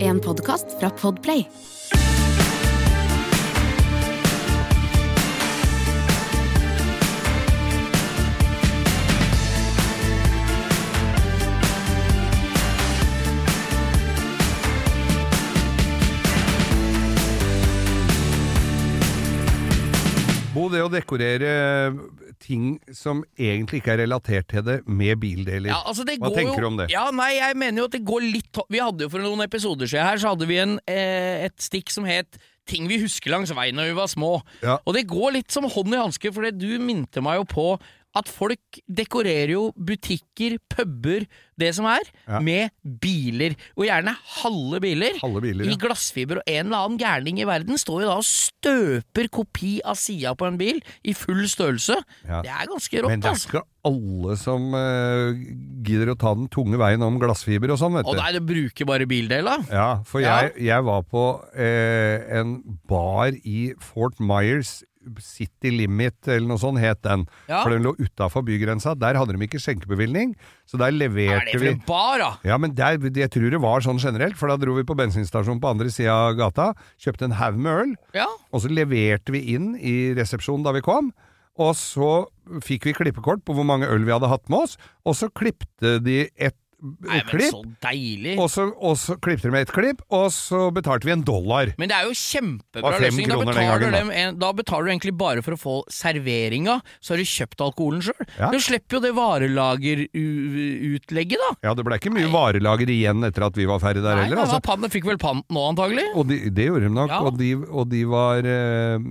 En podkast fra Podplay. Bo, det å dekorere ting som egentlig ikke er relatert til det, med bildeler. Ja, altså det Hva går tenker jo, du om det? Ja, nei, jeg mener jo at det går litt to- Vi hadde jo for noen episoder siden her, så hadde vi en, eh, et stikk som het Ting vi husker langs veien når vi var små. Ja. Og det går litt som hånd i hanske, for det du minte meg jo på at folk dekorerer jo butikker, puber, det som er, Ja. med biler. Og gjerne halve biler. Halve biler, ja. I glassfiber, og en eller annen gærning i verden står jo da og støper kopi av sida på en bil i full størrelse. Ja. Det er ganske rått, Men da altså. skal alle som eh, gidder å ta den tunge veien om glassfiber og sånn, vet Og du. nei, du bruker bare bildela? Ja, for Ja. Jeg, jeg var på eh, en bar i Fort Myers, City Limit eller noe sånt het den. Ja. For den lå utafor bygrensa. Der hadde de ikke skjenkebevilgning, så der Hva er leverte det for vi en bar, da? Ja, men der, jeg tror det var sånn generelt, for da dro vi på bensinstasjonen på andre sida av gata, kjøpte en haug med øl, Ja. og så leverte vi inn i resepsjonen da vi kom, og så fikk vi klippekort på hvor mange øl vi hadde hatt med oss, og så klippte de et Nei, men klipp, så deilig. og så, og så klippte de med et klipp, og så betalte vi en dollar. Men det er jo kjempebra Det var fem løsning. Da kroner den betaler, gangen, da. dem en, da betaler du egentlig bare for å få serveringa, så har du kjøpt alkoholen sjøl. Ja. Du slipper jo det varelagerutlegget, da. Ja, det ble ikke mye varelager igjen etter at vi var ferdig der Nei, heller, men hva altså. panne fikk vel pant nå, antagelig? Og de, det gjorde de nok, Ja. og, de, og de var eh,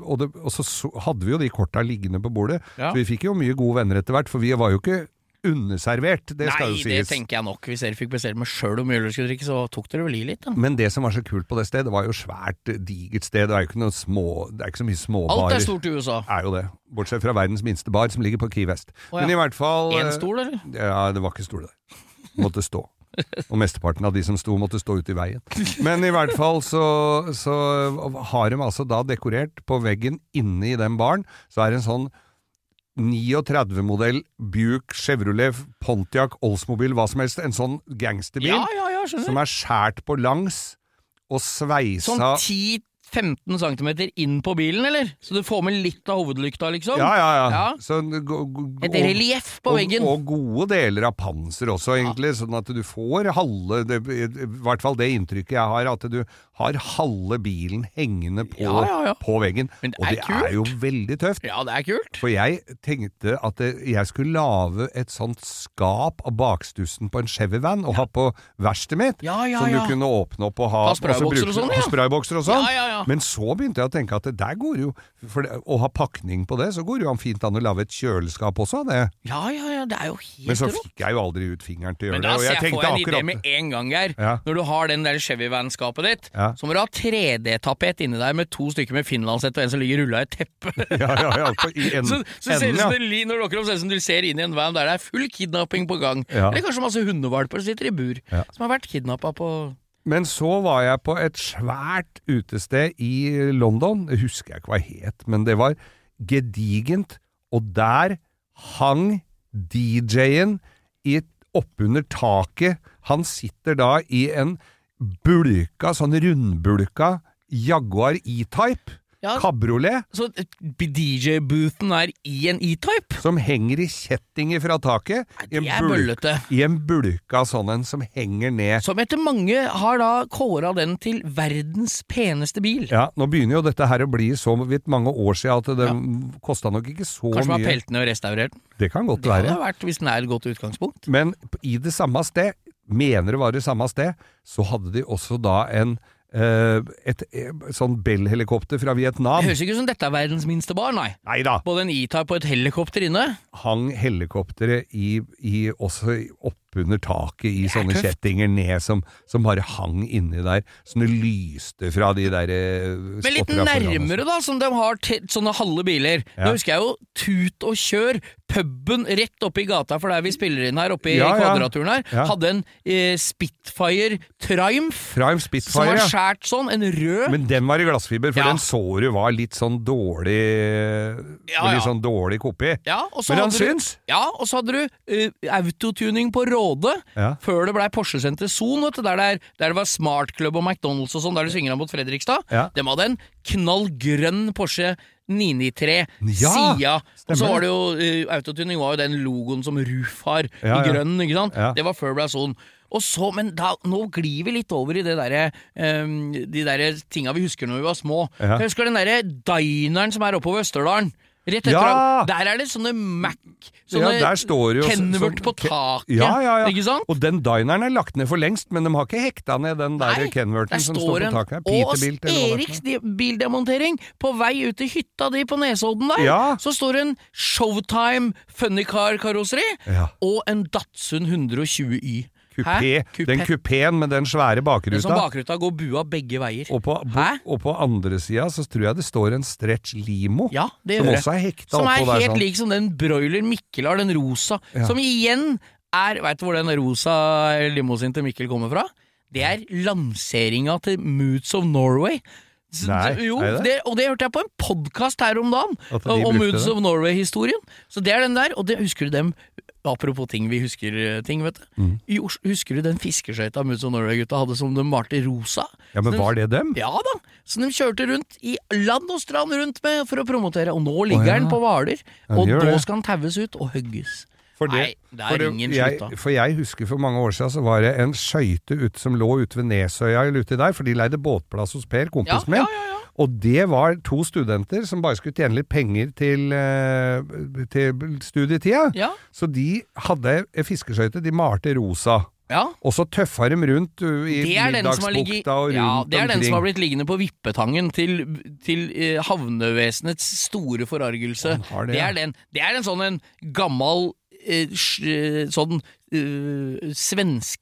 og, det, og så, så hadde vi jo de korta liggende på bordet, Ja. så vi fikk jo mye gode venner etter hvert, for vi var jo ikke underservert, det Nei, skal jo det sies. tenker jeg nok. Hvis dere fikk bestemme sjøl hvor mye øl dere skulle drikke, så tok dere vel i litt, da. Men det som var så kult på det stedet, det var jo svært eh, digert sted, det er jo ikke, noe små, det er ikke så mye småbarer. Alt er stort i USA. Er jo det, bortsett fra verdens minste bar som ligger på Key West. Å, ja. Men i hvert fall eh, Én stol, eller? Ja, det var ikke stol der. Måtte stå. Og mesteparten av de som sto, måtte stå ute i veien. Men i hvert fall så, så har de altså da dekorert på veggen inne i den baren, så er det en sånn 39-modell Buick Chevrolet Pontiac Oldsmobil, hva som helst, en sånn gangsterbil Ja, ja, ja, skjønner. som er skåret på langs og sveisa Sånn 10-15 cm inn på bilen, eller? Så du får med litt av hovedlykta, liksom? Ja, ja, ja. Ja. Så go- go- Et og- relieff på veggen. Og, og gode deler av panser også, egentlig. Sånn at du får halve det, I hvert fall det inntrykket jeg har, at du har halve bilen hengende på, Ja, ja, ja. på veggen. Men det og er det kult. er jo veldig tøft. Ja, det er kult. For jeg tenkte at det, jeg skulle lage et sånt skap av bakstussen på en Chevy-van og ha på verkstedet mitt, Ja, ja, som ja. du kunne åpne opp og ha Ha og så spraybokser og bruke- sånn, ja. ha spraybokser og sånn. Ja, ja, ja. Men så begynte jeg å tenke at det der går jo For det, å ha pakning på det, så går det jo an fint an å lage et kjøleskap også av det. Ja, ja, ja, det er jo helt Men så rått. fikk jeg jo aldri ut fingeren til å Men gjøre det. da Og ser jeg jeg får tenkte en idé akkurat med en gang, Geir. Ja. Når du har den der Chevy-vanskapet ditt, Ja. så må du ha 3D-tapet inni deg med to stykker med finlandshette og en som ligger rulla i et teppe. ja, ja, ja, på, i en, Så, så ser enden, det ut ja. som det li- når du lukker opp, ser det ut som du ser inn i en van der det er full kidnapping på gang. Ja. Eller kanskje masse hundevalper som sitter i bur, Ja. som har vært kidnappa på Men så var jeg på et svært utested i London, det husker jeg ikke hva det het, men det var gedigent, og der hang DJ-en i- oppunder taket. Han sitter da i en bulka, sånn rundbulka Jaguar E-type, Ja. kabriolet, Så DJ-boothen er i en E-type? som henger i kjettinger fra taket. Nei, det i en er bulk- bøllete. I en bulka sånn en som henger ned. Som etter mange har da kåra den til verdens peneste bil. Ja, nå begynner jo dette her å bli så vidt mange år siden at det kostet kosta nok ikke så Kanskje man har mye. pelt ned og restaurert den? Det kan godt Det hadde være. det vært hvis den er et godt utgangspunkt. Men p- i det samme sted, mener det var det samme sted, så hadde de også da en eh, et eh, sånn Bell-helikopter fra Det Vietnam. høres ikke ut som dette er verdens minste bar, nei. Nei da, Både en E-type og et helikopter inne. hang helikopteret i, i, også i- oppunder taket i sånne tøft. kjettinger ned, som, som bare hang inni der. Som det lyste fra de der eh, Men litt spotterne foran oss. nærmere, da, som de har te sånne halve biler. altså. Ja. Da husker jeg jo Tut og Kjør, puben rett oppi gata for der vi spiller inn her, oppe i Ja, ja. Kvadraturen her, Ja. hadde en eh, Spitfire Triumph Prime som Spitfire, var ja. skåret sånn, en rød Men den var i glassfiber, for Ja. den så du var litt sånn dårlig Ja, ja. Litt sånn dårlig kopi. Ja, og så Men han hadde du- syns! Ja, og så hadde du eh, autotuning på Råde, Ja. før det blei Porsche Center Son, vet du, der, det er- der det var Smart Club og McDonald's og sånn, der du svinger av mot Fredrikstad. Ja. De hadde en knallgrønn Porsche 993 Ja, Sia. Og så stemmer var det jo, eh, Autotuning var jo den logoen som Roof har, Ja, i ja. grønn, ikke sant? Ja. Det var før det ble sånn. Og så, men da, nå glir vi litt over i det derre, eh, de derre tinga vi husker når vi var små. Ja. Jeg husker den derre dineren som er oppe ved Østerdalen. Rett etter Ja! Der er det sånne Mac Ja, Sånne der står det jo Kenworth sånn- på Ke- taket. Ja, ja, ja. Ikke sant? Og den dineren er lagt ned for lengst, men de har ikke hekta ned den der Nei, Kenworthen som liksom står på en taket. Ås Pitebilt, eller hva det Eriks heter. de- bildemontering på vei ut til hytta di på Nesodden der. Ja. Så står det en Showtime Funny Car karosseri Ja. og en Datsun 120Y. Kupé. Den kupeen med den svære Den bakruta. som sånn bakruta går bua begge veier. Og på, bo, Hæ? og på andre sida så tror jeg det står en stretch limo, Ja, det som gjør også er hekta Som er oppå der. helt Sånn. lik som den broiler Mikkel har, den rosa. Ja. Som igjen er Veit du hvor den rosa limousinen til Mikkel kommer fra? Det er lanseringa til Moods of Norway. S- Nei, jo, er det? det, og det hørte jeg på en podkast her om dagen, At de om brukte Moods det? of Norway-historien. Så det er den der, og det husker du dem Apropos ting vi husker eh, ting, vet du. Mm. I Os- Husker du den fiskeskøyta Moods of Norway-gutta hadde som de malte rosa? Ja, men var det dem? Ja da, så de kjørte rundt i land og strand rundt med for å promotere, og nå ligger den på Hvaler, den og gjør nå det. skal den taues ut og hugges. For det, Nei, der for det, ingen slutta. jeg, for jeg husker for mange år siden så var det en skøyte ut- som lå ute ved Nesøya eller uti der, for de leide båtplass hos Per, Ja, kompisen min. ja, ja, ja. Og det var to studenter som bare skulle tjene litt penger til, eh, til studietida. Ja. Så de hadde ei fiskeskøyte, de malte rosa. ja. Og så tøffa dem rundt uh, i Det er, den som har ligget, Middagsbukta og rundt ja, det er den som har omkring. blitt liggende på vippetangen til, til eh, havnevesenets store forargelse. Han har det, det, ja. er den, det er en sånn en gammal eh, sj- eh, sånn eh,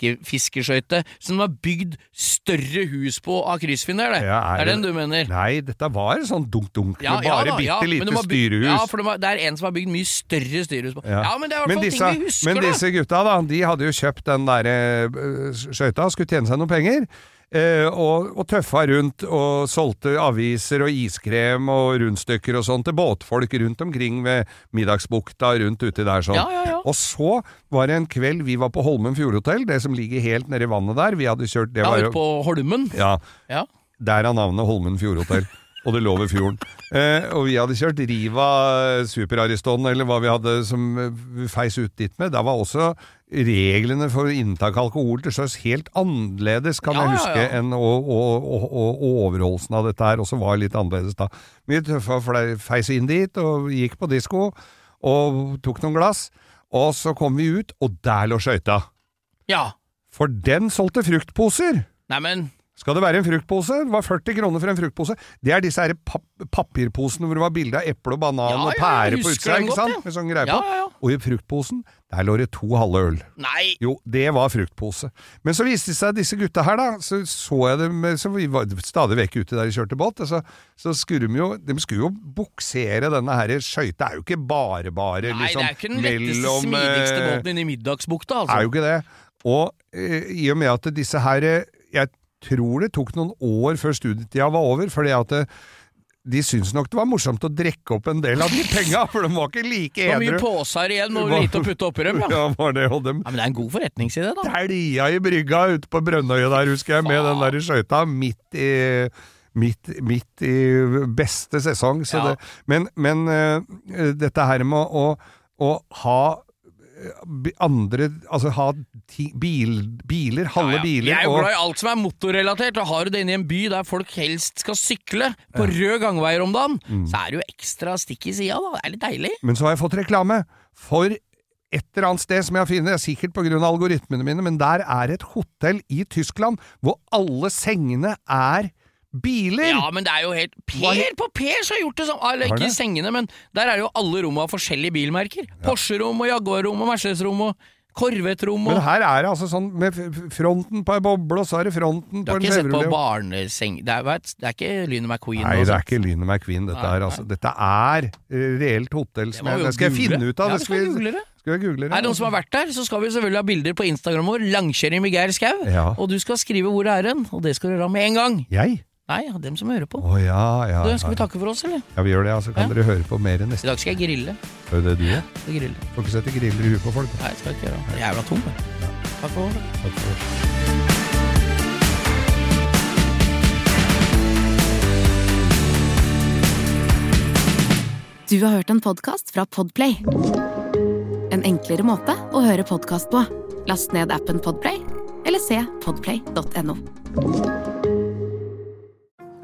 svenskefiskerskøyte som de har bygd større hus på av kryssfinner. Det. Ja, er det er det- den du mener? Nei, dette var en sånn dunk-dunk med bare da, bitte men lite de har bygd- styrehus. Ja, for de har, det er en som har bygd mye større styrehus på. Ja, men det er i hvert Men fall disse, ting vi husker, men da. disse gutta, da, de hadde jo kjøpt den der eh, skøyta, skulle tjene seg noen penger. eh, og, og tøffa rundt og solgte aviser og iskrem og rundstykker og sånn til båtfolk rundt omkring ved Middagsbukta rundt uti der sånn. Ja, ja, ja. Og så var det en kveld vi var på Holmen Fjordhotell, det som ligger helt nede i vannet der. Vi hadde kjørt det Ja, var jo- ute på Holmen. Ja, Ja. der er navnet Holmen Fjordhotell. Og det lå ved fjorden. Eh, og vi hadde kjørt Riva eh, Super Ariston, eller hva vi hadde som eh, vi feis ut dit med. Da var også reglene for inntak av alkohol til sjøs helt annerledes, kan Ja, jeg ja, huske, ja. enn og, og, og, og overholdelsen av dette her også var litt annerledes da. Vi tøffa flei- feis inn dit, og gikk på disko, og tok noen glass. Og så kom vi ut, og der lå skøyta. ja. For den solgte fruktposer! Neimen, Skal det være en fruktpose? Det var 40 kroner for en fruktpose. Det er disse her pap papirposene hvor det var bilde av eple og banan Ja, og ja, jeg pære på husker utsida, dem ikke godt, sant? ja. Med sånn greie Ja, på. ja, ja. Og i fruktposen, der lå det to halve øl. nei. Jo, det var fruktpose. Men så viste det seg at disse gutta her, da, så så jeg dem så Vi var stadig vekk ute der de kjørte båt. og Så, så skulle de jo De skulle jo buksere denne her skøyta. Er jo ikke bare, bare, Nei, liksom. det er ikke den letteste, mellom, smidigste eh, båten inne i Middagsbukta, altså. er jo ikke det. Og eh, i og med at disse her eh, Jeg tror det tok noen år før studietida var over, fordi at eh, de syntes nok det var morsomt å drikke opp en del av de penga, for de var ikke like det var edru. mye påser igjen og Hva- lite å putte oppi dem, ja. ja. Ja, var det, og de Men det er en god forretningsidé, da. dælja i brygga ute på Brønnøya der, husker jeg, med den der skøyta midt i Midt, midt i beste sesong. Så Ja. det, men men eh, dette her med å, å ha eh, bi- andre Altså ha ti, bil, biler, halve biler Jeg er jo og- glad i alt som er motorrelatert, og har du det inne i en by der folk helst skal sykle på røde gangveier om dagen, Mm. så er det jo ekstra stikk i sida, da. Det er litt deilig. Men så har jeg fått reklame for et eller annet sted som jeg har funnet, sikkert pga. algoritmene mine, men der er et hotell i Tyskland hvor alle sengene er biler! Ja, men det er jo helt Per på Per som har gjort det sånn! Eller Har ikke det? sengene, men der er jo alle romma av forskjellige bilmerker. Porsche-rom og Jaguar-rom og Mercedes-rom og Corvette-rom og Men her er det altså sånn med f- f- fronten på ei boble, og så er det fronten Du på har en ikke sett på Chevrolet. barneseng... Det er, vet, det er ikke Lyne McQueen Nei, og sånn. det er sånt. ikke Lyne McQueen, dette her. Altså. Dette er eh, reelt hotell. Som må jeg, vi jo det skal jeg google. finne ut av. Ja, det vi skal skal, google vi, det. skal jeg google det. Er det noen som har vært der, så skal vi selvfølgelig ha bilder på Instagram vår. Langkjøring med Geir Skau. Ja. Og du skal skrive hvor det er hen, og det skal du gjøre med en gang. Jeg? Nei, ja, dem som hører på. Å ja, ja. Du, ja. skal vi takke for oss, eller? ja, vi gjør det. ja, Så kan Ja. dere høre på mer I neste dag skal jeg grille. Det er jo det du gjør. Jeg skal grille. Får ikke sette griller i huet på folk. da. Nei, jeg skal ikke gjøre det. Jeg er jævla tung. jeg. Takk for det. Takk for oss. Du har hørt en podkast fra Podplay. En enklere måte å høre podkast på. Last ned appen Podplay, eller se podplay.no.